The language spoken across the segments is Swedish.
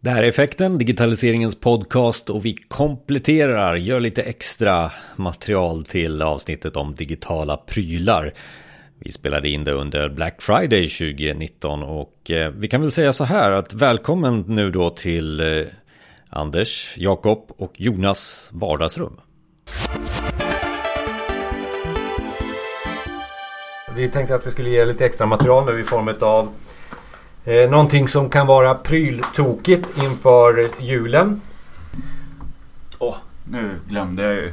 Det här är Effekten, digitaliseringens podcast och vi kompletterar, gör lite extra material till avsnittet om digitala prylar. Vi spelade in det under Black Friday 2019 och eh, vi kan väl säga så här att välkommen nu då till eh, Anders, Jakob och Jonas vardagsrum. Vi tänkte att vi skulle ge lite extra material nu i form av eh, någonting som kan vara pryltokigt inför julen. Åh, nu glömde jag ju.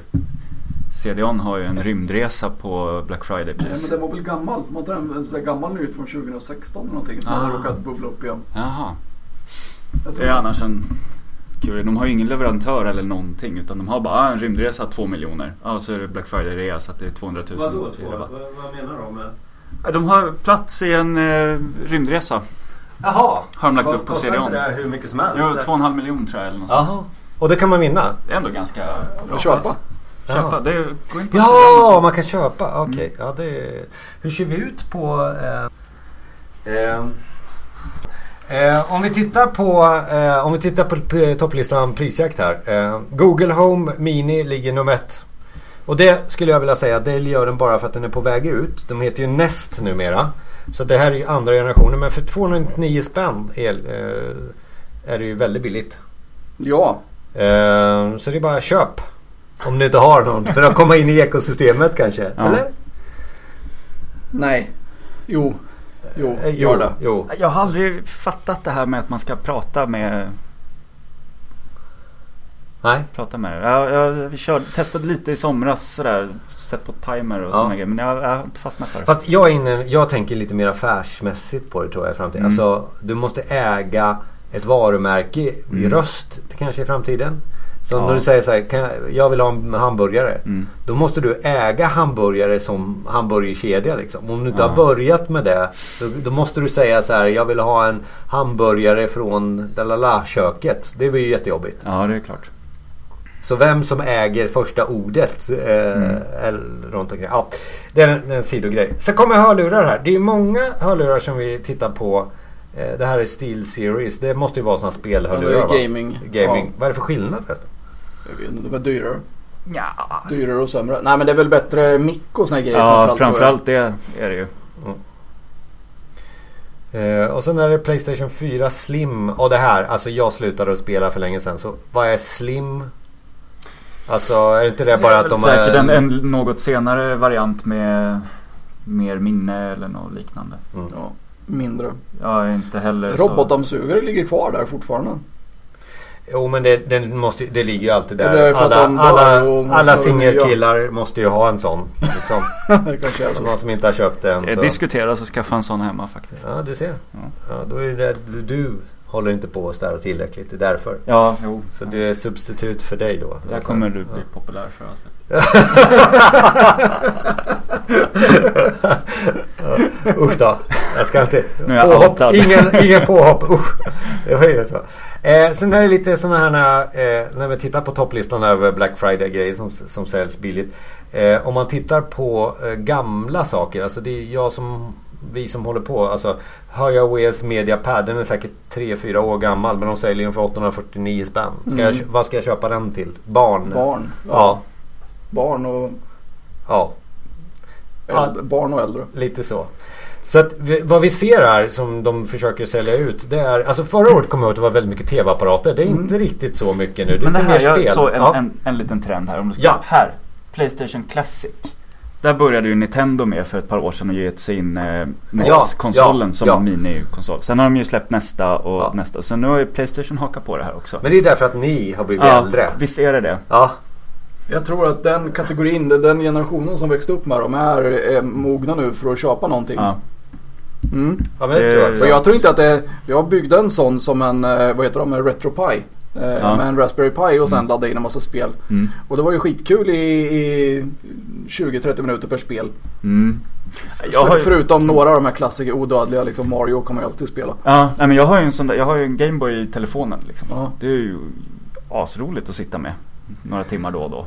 CDON har ju en rymdresa på Black Nej, men Friday-pris. den var väl gammal? Var inte den en sån där gammal nyhet från 2016 eller någonting som Ah. hade råkat bubbla upp igen? Jaha, Jag det tror är annars en... Kul. De har ju ingen leverantör eller någonting utan de har bara ah, en rymdresa 2 miljoner. Ja, och så är det Black Friday-rea så att det är 200 000 kilowatt. menar de med? Ja, De har plats i en eh, rymdresa. Jaha! Har de lagt upp på CDON. hur mycket som helst? Jo, Alltså- 2,5 miljoner tror jag eller något sånt. Jaha. Och det kan man vinna? Det är ändå ganska bra köpa. pris. Jaha. Köpa, det är, gå in på Ja, CDON. man kan köpa. Okej. Ja, det... Hur ser vi ut på... Eh... Eh... om vi tittar på, eh, om vi tittar på p- topplistan prisjakt här. Eh, Google Home Mini ligger nummer ett. Och det skulle jag vilja säga, det gör den bara för att den är på väg ut. De heter ju Nest numera. Så det här är ju andra generationen. Men för 299 spänn är, eh, är det ju väldigt billigt. Ja, Eh, så det är bara köp. Om ni inte har någon. För att komma in i ekosystemet kanske. Ja. Eller? nej, jo, jo, Eh, gör det. Jo. Jag har aldrig fattat det här med att man ska prata med Nej. prata med dig. Jag, jag körde, testade lite i somras sådär. Sett på timer och Ja. sådana grejer. Men jag, jag har inte fastnat för det. Fast jag, är inne, jag tänker lite mer affärsmässigt på det tror jag i framtiden. Mm. Alltså, du måste äga ett varumärke i Mm. röst kanske i framtiden. Så Ja. när du säger så här, kan jag, jag vill ha en hamburgare. Mm. Då måste du äga hamburgare som hamburgerkedja. Liksom. Om du inte Ja. har börjat med det. Då, då måste du säga så här, jag vill ha en hamburgare från lalala-köket. Det blir ju jättejobbigt. Ja, det är klart. Så vem som äger första ordet eh, Mm. eller runt omkring. Ja, det är en, det är en sidogrej. Sen kommer hörlurar här. Det är många hörlurar som vi tittar på. Eh, det här är Steel Series. Det måste ju vara sådana spelhörlurar Ja, det är va? gaming. gaming. Ja. Vad är det för skillnad förresten? Jag vet inte, det var dyrare. Ja, Dyrare och sämre. Nej men det är väl bättre mick och såna här grejer ja framförallt, tror jag. framförallt det är det ju. Eh, och sen är det Playstation 4 Slim. Och det här. Alltså jag slutade att spela för länge sedan. Så vad är Slim? Alltså är det inte det bara att de Säkert är... en, en något senare variant med mer minne eller något liknande. Ja, mindre. Jag är inte heller så... Robotdammsugare ligger kvar där fortfarande. Jo men det, den måste, ju- det ligger ju alltid där. Det är för att alla de dör och- alla, alla och- singelkillar måste ju ha en sån. Liksom. det kanske är Så så. någon som inte har köpt den. Det Så. diskuteras att skaffa en sån hemma faktiskt. Ja du ser. Ja. Ja, då är det att du, du håller inte på att störa tillräckligt. Det är därför. Ja, jo. Så det är substitut för dig då. Där kommer du bli populär för alltså. Usch då. Jag ska inte. Nu är jag påhopp. outad. Ingen, ingen påhopp. Usch. Det var ju så. Eh, sen är det lite sådana här eh, när vi tittar på topplistan över Black Friday grejer som, som säljs billigt. Eh, om man tittar på eh, gamla saker. Alltså det är jag som vi som håller på. Alltså HireWares Media Pad. Den är säkert 3-4 år gammal. Men de säljer den för 849 spänn. Ska Mm. jag, kö- vad ska jag köpa den till? Barn? Barn. Ja. Barn och ja. Ja. äldre. Barn och äldre. Lite så. Så att vi, vad vi ser här som de försöker sälja ut det är... Alltså förra året kom jag ihåg att det var väldigt mycket tv-apparater. Det är inte riktigt så mycket nu. Det är Mm. Men det lite här, mer spel. jag såg en, ja. en, en liten trend här. Om du ska, Ja. Här, Playstation Classic. Där började ju Nintendo med för ett par år sedan att ge ut sin eh, NES-konsolen ja, som ja. en minikonsol. Sen har de ju släppt nästa och Ja. nästa. Så nu har ju Playstation hakat på det här också. Men det är därför att ni har blivit äldre. Mm. visst är det det. Ja. Jag tror att den kategorin, den generationen som växte upp med de här är mogna nu för att köpa någonting. Ja. Mm. ja, men det Eh, tror jag. Så Så jag tror inte att det Jag byggde en sån som en, eh, vad heter de, en RetroPie. Eh, Ja. Med en Raspberry Pi och sen laddade in en massa spel. Mm. Och det var ju skitkul i, i 20-30 minuter per spel. Mm. Jag har För, ju, förutom några av de här klassiker odödliga, liksom Mario kommer jag alltid spela. ja, nej, men jag har ju en sån där, jag har ju en Gameboy i telefonen liksom. Ja. Det är ju asroligt att sitta med. Några timmar då och då.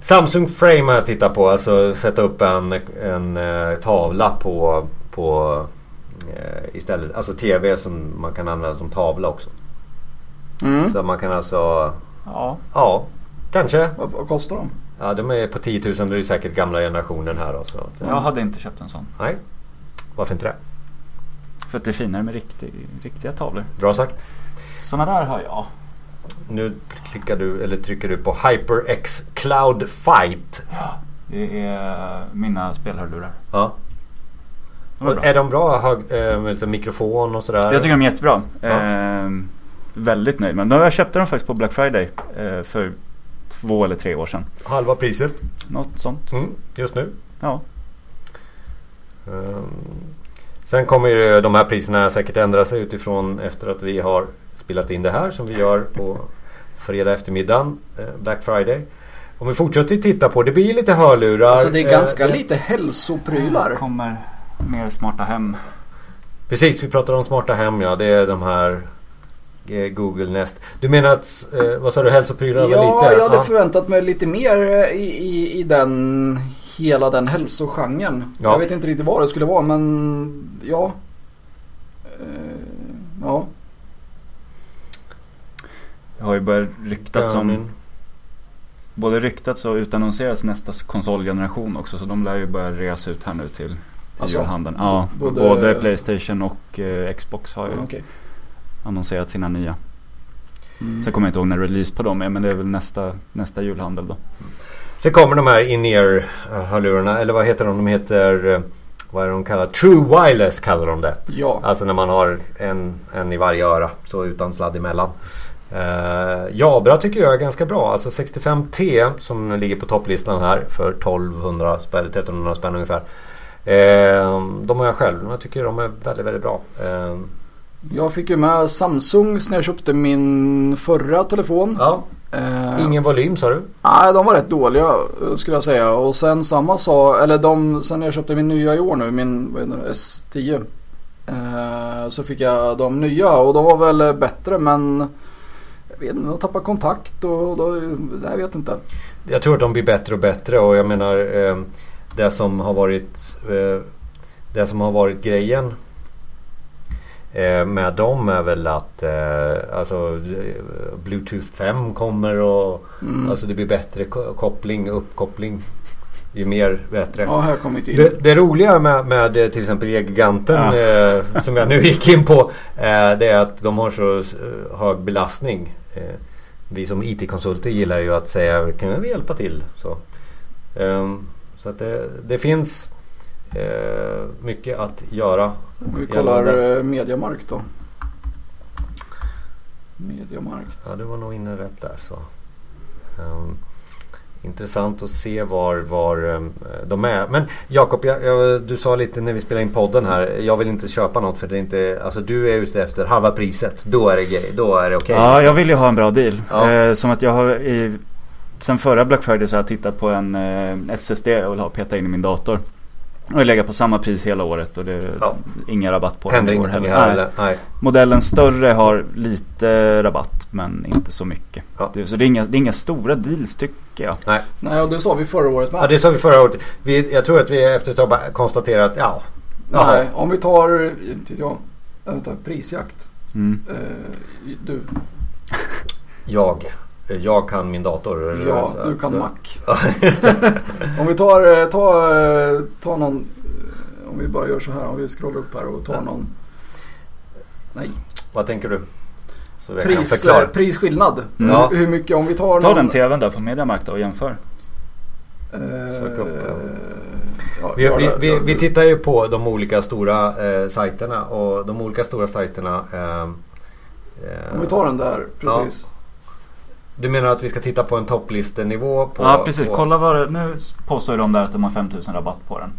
Samsung Frame har jag tittat på. Alltså sätta upp en, en eh, tavla på... på eh, istället. Alltså tv som man kan använda som tavla också. Mm. Så man kan alltså, Ja. ja, kanske. Vad, vad kostar de? Ja, de är på 10 000, det är ju säkert gamla generationen här. Och så. att, eh, Jag hade inte köpt en sån. Nej, varför inte det? För att det är finare med riktig, riktiga tavlor. Bra sagt. Såna där har jag. Nu klickar du, eller trycker du på HyperX Cloud Fight. Det är mina spelhörlurar. Ja. De var bra. Är de bra? Hög, eh, med lite mikrofon och sådär? Jag tycker de är jättebra. Ehm, väldigt nöjd med dem. Jag köpte dem faktiskt på Black Friday eh, för två eller tre år sedan. Halva priset Något sånt. mm, just nu. Ja. Ehm, Sen kommer ju de här priserna säkert ändra sig utifrån efter att vi har spelat in det här som vi gör på fredag eftermiddagen, eh, Black Friday. Om vi fortsätter titta på, det blir lite hörlurar. Alltså det är eh, ganska det- lite hälsoprylar. kommer mer smarta hem. Precis, vi pratade om smarta hem ja. Det är de här eh, Google Nest. Du menar att, eh, vad sa du, hälsoprylar var Ja, lite? jag hade förväntat mig lite mer eh, i, i, i den, hela den hälsogenren. Ja. Jag vet inte riktigt vad det skulle vara men ja. Eh, ja. Det har ju börjat Ja, ryktats om, men- både ryktats och utannonseras nästa konsolgeneration också. Så de lär ju börja resa ut här nu till Alltså, julhandeln. Ja, både- både... Playstation och eh, Xbox har ju Ja, okej. Mm. annonserat sina nya. Sen kommer jag inte ihåg när release på dem är men det är väl nästa, nästa julhandel då. Sen kommer de här in-ear eh, hörlurarna, eller vad heter de? De heter, eh, vad är det de kallar? True Wireless kallar de det. Ja. Alltså när man har en, en i varje öra, så utan sladd emellan. Uh, Jabra tycker jag är ganska bra. Alltså 65T som ligger på topplistan här för 1200 spänn, 1300 spänn ungefär. Eh, de har jag själv. Jag tycker de är väldigt, väldigt bra. Eh, Jag fick ju med Samsung när jag köpte min förra telefon. ja, Eh, ingen volym sa du? Nej, de var rätt dåliga eh, skulle jag säga. Och sen samma sa, eller de, sen när jag köpte min nya i år nu, min vad heter det, S10. Eh, så fick jag de nya och de var väl eh, bättre men jag vet inte, de tappade kontakt och då, nej, jag vet inte. Jag tror att de blir bättre och bättre och jag menar eh, det som har varit eh, det som har varit grejen eh, med dem är väl att eh, alltså, eh, Bluetooth 5 kommer och Mm. alltså, det blir bättre ko- koppling, uppkoppling. Ju mer bättre. ja, här kom vi till. Det, det roliga med, med eh, till exempel Giganten Ja. eh, som jag nu gick in på eh, det är att de har så eh, hög belastning. Eh, vi som IT-konsulter gillar ju att säga kan vi hjälpa till? Så, Ehm, så att det, det finns eh, mycket att göra. Om vi gällande- kollar eh, Mediamarkt då. Mediamarkt. Ja, du var nog inne rätt där. Så. Ehm, intressant att se var, var ehm, de är. Men Jakob, jag, jag, du sa lite när vi spelade in podden här. Jag vill inte köpa något för det är inte... Alltså du är ute efter halva priset. Då är det grej. Då är det okej. Ja, jag vill ju ha en bra deal. Ja. Eh, som att jag har i, sen förra Black Friday så har jag tittat på en eh, SSD jag vill ha peta in i min dator. Och jag lägger på samma pris hela året och det är Ja. ingen rabatt på Händer den. i år ingenting heller. här Nej. eller? Nej. Modellen större har lite rabatt men inte så mycket. Ja. Det, så det är, inga, det är inga stora deals tycker jag. Nej, och det sa vi förra året med. Ja, det sa vi förra året. Vi, jag tror att vi efter ett tag bara konstaterat ja. Jaha. Nej, om vi tar, inte vet jag, vänta, prisjakt. Mm. Eh, du, Jag. Jag kan min dator. eller ja, så. du kan Mac. Ja, just det. Om vi tar, eh, ta, eh, ta någon, eh, om vi bara gör så här, om vi scrollar upp här och tar någon Nej, Vad tänker du? Så jag kan pris, förklara. eh, prisskillnad. Mm. Ja. Hur- Hur mycket, om vi tar Ta någon... den TVn där på Mediamarkt då och jämför. eh, Sök upp den. ja, Vi, gör vi, det, vi, gör vi det. tittar ju på de olika stora eh, sajterna och de olika stora sajterna. ehm, eh, Om vi tar den där, precis. Du menar att vi ska titta på en topplistenivå på, ja precis, på kolla vad det, Nu påstår ju de där att de har 5000 rabatt på den.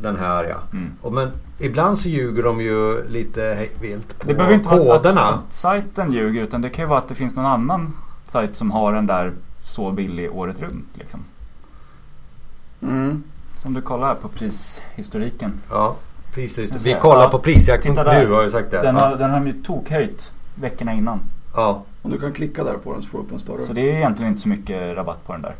den här ja. Mm. Och, men ibland så ljuger de ju lite hej vilt på Det behöver inte vara att, att, koderna. att sajten ljuger utan det kan ju vara att det finns någon annan sajt som har den där så billig året runt. Liksom. Mm. Som du kollar här på prishistoriken. Ja, precis. Jag Vi ser. kollar Ja. på prisjakt.nu Titta där. har jag sagt det. Den Ja. har, den har de ju tokhöjt veckorna innan. Ja, Om du kan klicka där på den så får du upp en större. Så det är egentligen inte så mycket rabatt på den där.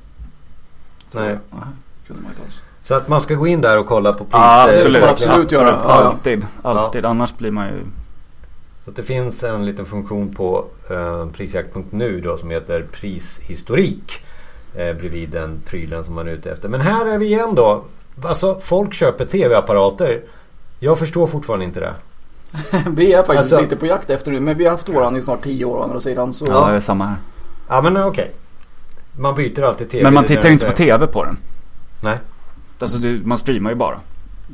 tror jag. nej. Nej, kunde man inte alls. Så att man ska gå in där och kolla på pris. absolut. eh, absolut göra. Ja, ja. Alltid, alltid. Annars blir man ju... Så att det finns en liten funktion på eh, prisjakt.nu då som heter prishistorik. Eh, bredvid den prylen som man är ute efter. Men här är vi igen då. Alltså folk köper tv-apparater. Jag förstår fortfarande inte det. vi är faktiskt Alltså- lite på jakt efter nu. Men vi har haft våran i snart 10 år å andra sidan. Så Ja, det är samma här. Ja men okej. Man byter alltid tv. Men man Det är tittar ju det inte på jag TV på den. Nej. Alltså du, man streamar ju bara.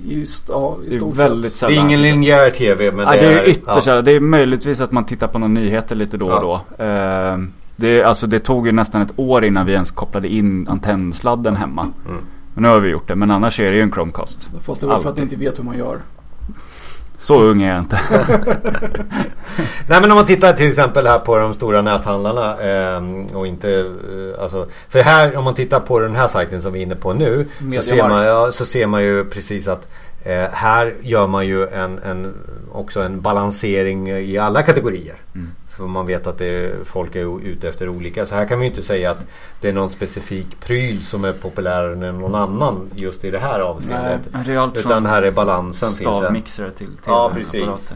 just, ja, i Det är stort väldigt sett. säger. Det är sällan. ingen linjär tv. Men Nej, det är ju ytterst ja. sällan. Det är möjligtvis att man tittar på några nyheter lite då och då. Eh, det, är- alltså, det tog ju nästan ett år innan vi ens kopplade in antennsladden hemma. Mm. Men nu har vi gjort det. Men annars är det ju en Chromecast. Fast det var för att Alltid. ni inte vet hur man gör. Så ung är jag inte. Nej men om man tittar till exempel här på de stora näthandlarna ehm, och inte eh, alltså, För här om man tittar på den här sajten som vi är inne på nu så Mediamarkt. ser, man, ja, så ser man ju precis att eh, här gör man ju en, en, också en balansering i alla kategorier. Mm. För man vet att det, folk är ute efter olika. Så här kan vi ju inte säga att det är någon specifik pryl som är populärare än någon annan just i det här avseendet. Men det är allt Utan från här är balansen. finns en- stavmixare till Ja, TV-apparater. precis.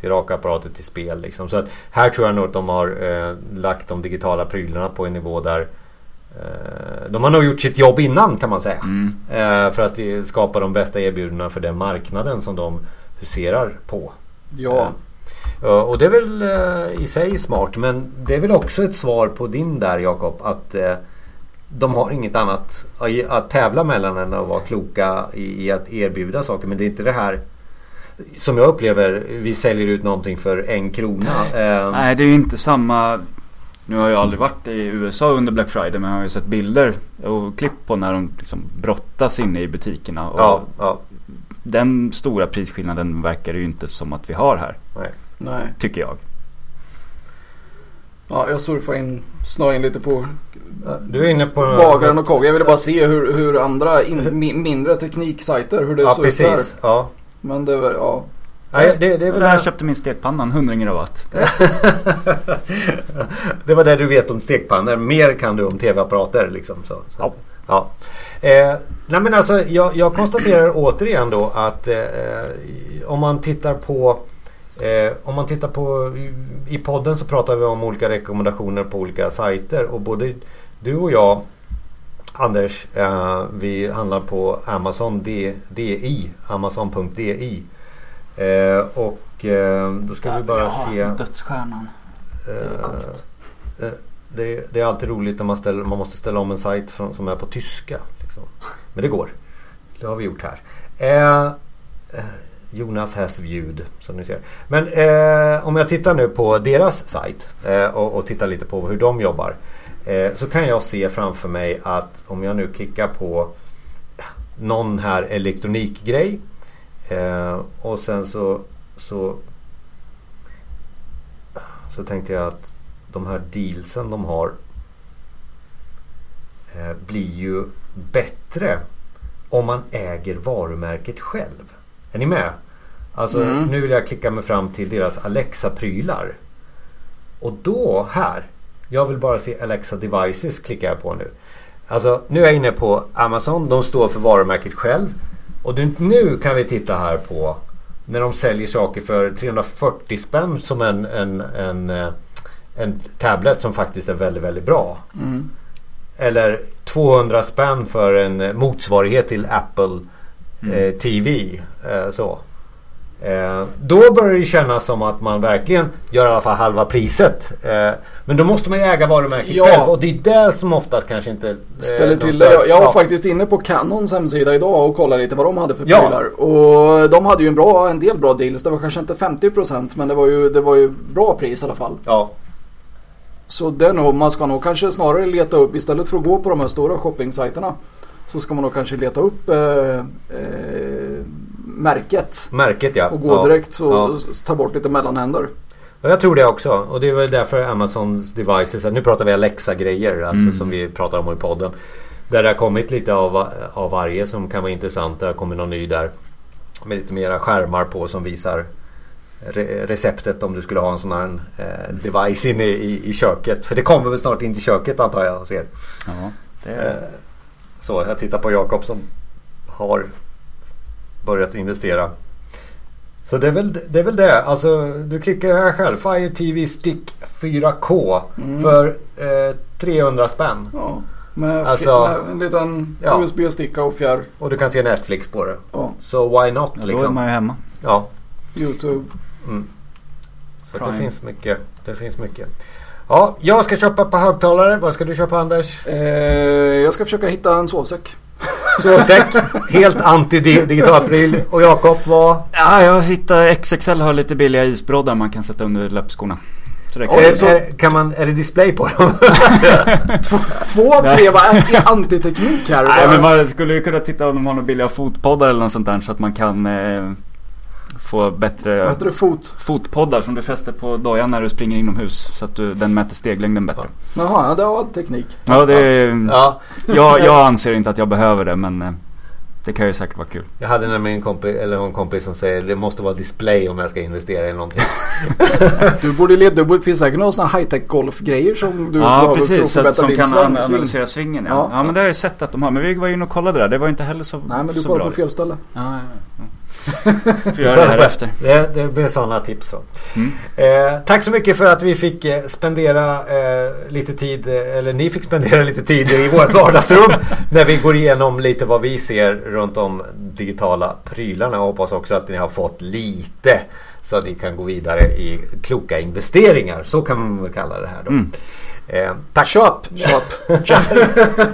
till raka apparater till spel. Liksom. Så att här tror jag nog att de har eh, lagt de digitala prylarna på en nivå där eh, de har nog gjort sitt jobb innan kan man säga. Mm. Eh, för att eh, skapa de bästa erbjudandena för den marknaden som de huserar på. Ja, Eh, och det är väl eh, i sig smart men det är väl också ett svar på din där Jakob att eh, de har inget annat att- att tävla mellan än att vara kloka i i att erbjuda saker. Men det är inte det här som jag upplever, vi säljer ut någonting för en krona. Eh, Nej, det är ju inte samma. Nu har jag aldrig varit i USA under Black Friday men jag har ju sett bilder och klipp på när de liksom brottas inne i butikerna. Och Ja, ja, Den stora prisskillnaden verkar det ju inte som att vi har här, nej. nej. tycker jag. Ja, jag surfar in snöin lite på Du är inne på... bagaren och koggen. Jag ville bara se hur, hur andra in, mi, mindre tekniksajter, hur det Ja, surfar. precis. Ja. Men det var, ja. Nej, det, det, är väl Jag det, köpte min stekpanna, en hundring i rabatt. det var det du vet om stekpannor. Mer kan du om tv-apparater. Liksom, så, så. Ja. Ja. Eh, nej men alltså, jag, jag konstaterar återigen då att eh, om man tittar på eh, om man tittar på i- i podden så pratar vi om olika rekommendationer på olika sajter och både du och jag Anders, eh, vi handlar på Amazon D, DI, Amazon.di eh, och eh, då ska vi bara se Dödsstjärnan. eh, eh, det, det är alltid roligt när man, ställer, man måste ställa om en sajt från, som är på tyska. Liksom. Men det går. Det har vi gjort här. Eh, eh, Jonas has ljud som ni ser. Men eh, om jag tittar nu på deras sajt eh, och, och tittar lite på hur de jobbar. Eh, så kan jag se framför mig att om jag nu klickar på ja, någon här elektronikgrej. Eh, och sen så, så så tänkte jag att de här dealsen de har eh, blir ju bättre om man äger varumärket själv. Är ni med? Alltså Mm. nu vill jag klicka mig fram till deras Alexa-prylar. Och då här. Jag vill bara se Alexa Devices klickar jag på nu. Alltså nu är jag inne på Amazon. De står för varumärket själv. Och du- nu kan vi titta här på när de säljer saker för 340 spänn som en, en, en, eh, en tablet som faktiskt är väldigt, väldigt bra. Mm. Eller 200 spänn för en eh, motsvarighet till Apple Mm. eh, TV. Eh, så. Eh, då börjar det kännas som att man verkligen gör i alla fall halva priset. Eh, men då måste man ju äga varumärket Ja. själv och det är det som oftast kanske inte... eh, de Ställer till det. stör- Jag, jag var Ja. faktiskt inne på Canons hemsida idag och kollade lite vad de hade för Ja. prylar. Och de hade ju en, bra, en del bra deals. Det var kanske inte 50% men det var ju, det var ju bra pris i alla fall. Ja, Så det är nog, man ska nog kanske snarare leta upp, istället för att gå på de här stora shoppingsajterna, så ska man nog kanske leta upp eh, eh, märket märket ja. och gå ja. direkt och Ja. s- ta bort lite mellanhänder. Ja, Jag tror det också. Och det är väl därför Amazons devices, nu pratar vi Alexa-grejer alltså, Mm. som vi pratar om i podden. Där det har kommit lite av, av varje som kan vara intressant. Det har kommit någon ny där. Med lite mera skärmar på som visar re- receptet om du skulle ha en sån här eh, device inne i, i köket. För det kommer väl snart in till köket antar jag och ser. Ja, det Eh, är... Så jag tittar på Jakob som har börjat investera Så det är väl det. Är väl det. Alltså, du klickar ju här själv. Fire TV Stick 4K Mm. för eh, 300 spänn. Ja, med, Alltså- med en liten Ja. USB-sticka och fjärr. Och du kan se Netflix på det. Ja, Så why not Ja, då är liksom. man ju hemma. Ja. YouTube. Mm. Så att det Prime. finns mycket. Det finns mycket. Ja, jag ska köpa på högtalare. Vad ska du köpa Anders? Eh, jag ska försöka hitta en sovsäck. Sovsäck. helt anti-digital pryl. Och Jakob var? Ja, jag hittar XXL har lite billiga isbroddar man kan sätta under löpskorna. Så det kan Är, så- är, kan man, är det display på dem? Två av tre var anti- antiteknik här. Nej, men man skulle ju kunna titta om de har några billiga fotpoddar eller något sånt där så att man kan eh, få Vad bättre heter det? Fot? fotpoddar som du fäster på dojan när du springer inomhus. Så att du, den mäter steglängden bättre. Jaha, ja, det var teknik. Ja, det är, ja. jag, jag anser inte att jag behöver det men eh, det kan ju säkert vara kul. Jag hade nämligen en kompis, eller en kompis som säger det måste vara display om jag ska investera i någonting. Du borde leda, det finns säkert några sådana high-tech golfgrejer som du Ja behöver precis, så för att, att förbättra som din kan sving. an- analysera svingen ja. Ja. ja. men det har jag sett att de har. Men vi var inne och kollade där. Det var inte heller så, Nej men du så kollar bra. på fel ställe. Ja, ja, ja. Får göra det här efter. Det, det blir sådana tips. Va? Mm. Eh, tack så mycket för att vi fick eh, spendera eh, lite tid, eh, eller ni fick spendera lite tid i vårt vardagsrum. när vi går igenom lite vad vi ser runt de digitala prylarna. Jag hoppas också att ni har fått lite så att ni kan gå vidare i kloka investeringar. Så kan man väl kalla det här då. Mm. Eh, tack! Köp! Köp!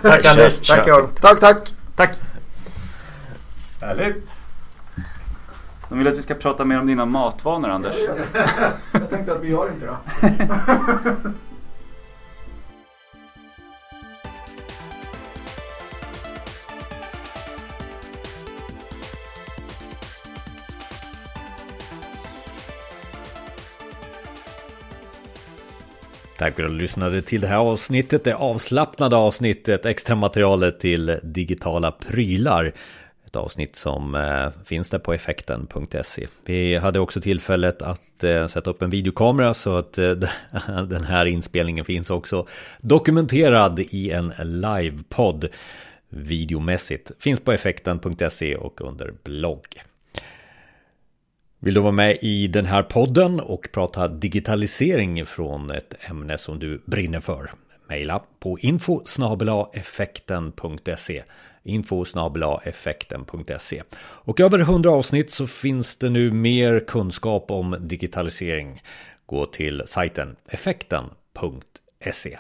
Tack Anders! Kör, Tack kör. Jorm! tack tack! Tack! Härligt! De vill att vi ska prata mer om dina matvanor Anders. Jag tänkte att vi gör inte det. Tack för att du lyssnade till det här avsnittet, det avslappnade avsnittet, extra materialet till digitala prylar. Ett avsnitt som eh, finns där på effekten.se. Vi hade också tillfället att eh, sätta upp en videokamera så att eh, den här inspelningen finns också dokumenterad i en livepodd videomässigt. Finns på effekten.se och under blogg. Vill du vara med i den här podden och prata digitalisering från ett ämne som du brinner för? Maila på info effekten.se info effekten.se Och över 100 avsnitt så finns det nu mer kunskap om digitalisering. Gå till sajten effekten.se